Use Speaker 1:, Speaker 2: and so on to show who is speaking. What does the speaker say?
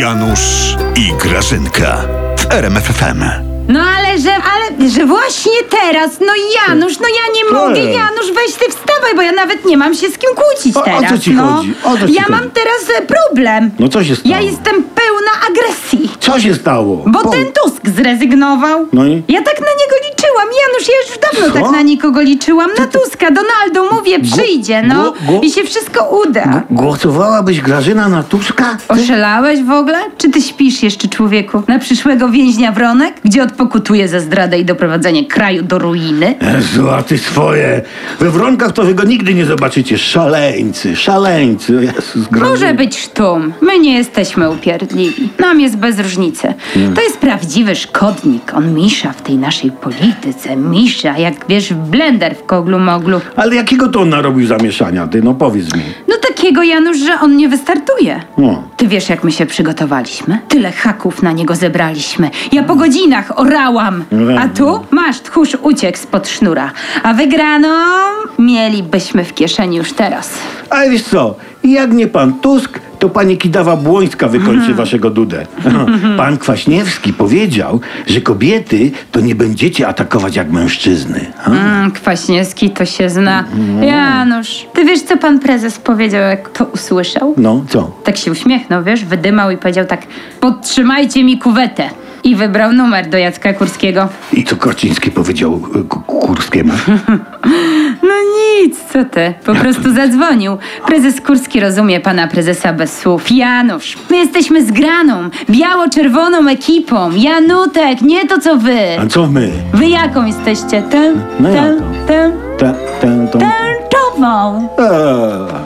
Speaker 1: Janusz i Grażynka w RMFFM.
Speaker 2: No ale że, ale, że właśnie teraz, no Janusz, no ja nie mogę,
Speaker 3: Ale-
Speaker 2: Janusz, weź ty wstawaj, bo ja nawet nie mam się z kim kłócić
Speaker 3: O- o co
Speaker 2: teraz.
Speaker 3: ci
Speaker 2: no.
Speaker 3: chodzi? O co ci
Speaker 2: ja
Speaker 3: chodzi?
Speaker 2: mam teraz e, problem.
Speaker 3: No co się stało?
Speaker 2: Ja jestem pełna agresji,
Speaker 3: Co się stało?
Speaker 2: bo
Speaker 3: Po-
Speaker 2: ten Tusk zrezygnował.
Speaker 3: No i?
Speaker 2: Ja tak na niego liczyłam, Janusz, ja już dawno
Speaker 3: Co?
Speaker 2: tak na nikogo liczyłam. Na Tuska, Donaldo, mówię, przyjdzie, no
Speaker 3: gu- gu-
Speaker 2: i się wszystko uda.
Speaker 3: Głosowałabyś Grażyna na Tuska?
Speaker 2: Oszalałeś w ogóle? Czy ty śpisz jeszcze, człowieku? Na przyszłego więźnia Wronek, gdzie odpokutuje za zdradę i doprowadzenie kraju do ruiny?
Speaker 3: Jezu, a ty E, swoje. We wronkach to wy go nigdy nie zobaczycie. Szaleńcy, szaleńcy. Jezus, Grażyna.
Speaker 2: Może być sztum. My nie jesteśmy upierdliwi. Nam jest bez różnicy. To jest prawdziwy szkodnik. On misza w tej naszej polityce. Misza, jak wiesz, w blender w koglu moglu.
Speaker 3: Ale jakiego to on narobił zamieszania, ty? No powiedz mi.
Speaker 2: No takiego, Janusz, że on nie wystartuje.
Speaker 3: No.
Speaker 2: Ty wiesz, jak my się przygotowaliśmy? Tyle haków na niego zebraliśmy. Ja po godzinach orałam. A tu masz, tchórz uciekł spod sznura. A wygraną mielibyśmy w kieszeni już teraz.
Speaker 3: Ale wiesz co, jak nie pan Tusk, to pani Kidawa Błońska wykończy
Speaker 2: Mhm.
Speaker 3: waszego dudę. pan Kwaśniewski powiedział, że kobiety to nie będziecie atakować jak mężczyzny. A?
Speaker 2: Mm, Kwaśniewski to się zna. Janusz, ty wiesz, co pan prezes powiedział, jak to usłyszał?
Speaker 3: No, co?
Speaker 2: Tak się uśmiechnął, wiesz, wydymał i powiedział tak podtrzymajcie mi kuwetę. I wybrał numer do Jacka Kurskiego.
Speaker 3: I co Korczyński powiedział y, Ku- Kurskiemu?
Speaker 2: No nic, co ty? Po prostu zadzwonił. Prezes Kurski rozumie pana prezesa bez słów. Janusz, my jesteśmy zgraną, biało-czerwoną ekipą. Janutek, nie to co wy.
Speaker 3: A co my?
Speaker 2: Wy jaką jesteście? Tę,
Speaker 3: No
Speaker 2: tę,
Speaker 3: jaką?
Speaker 2: tę,
Speaker 3: Ten, ten, ten.
Speaker 2: tęczową.
Speaker 3: Eee.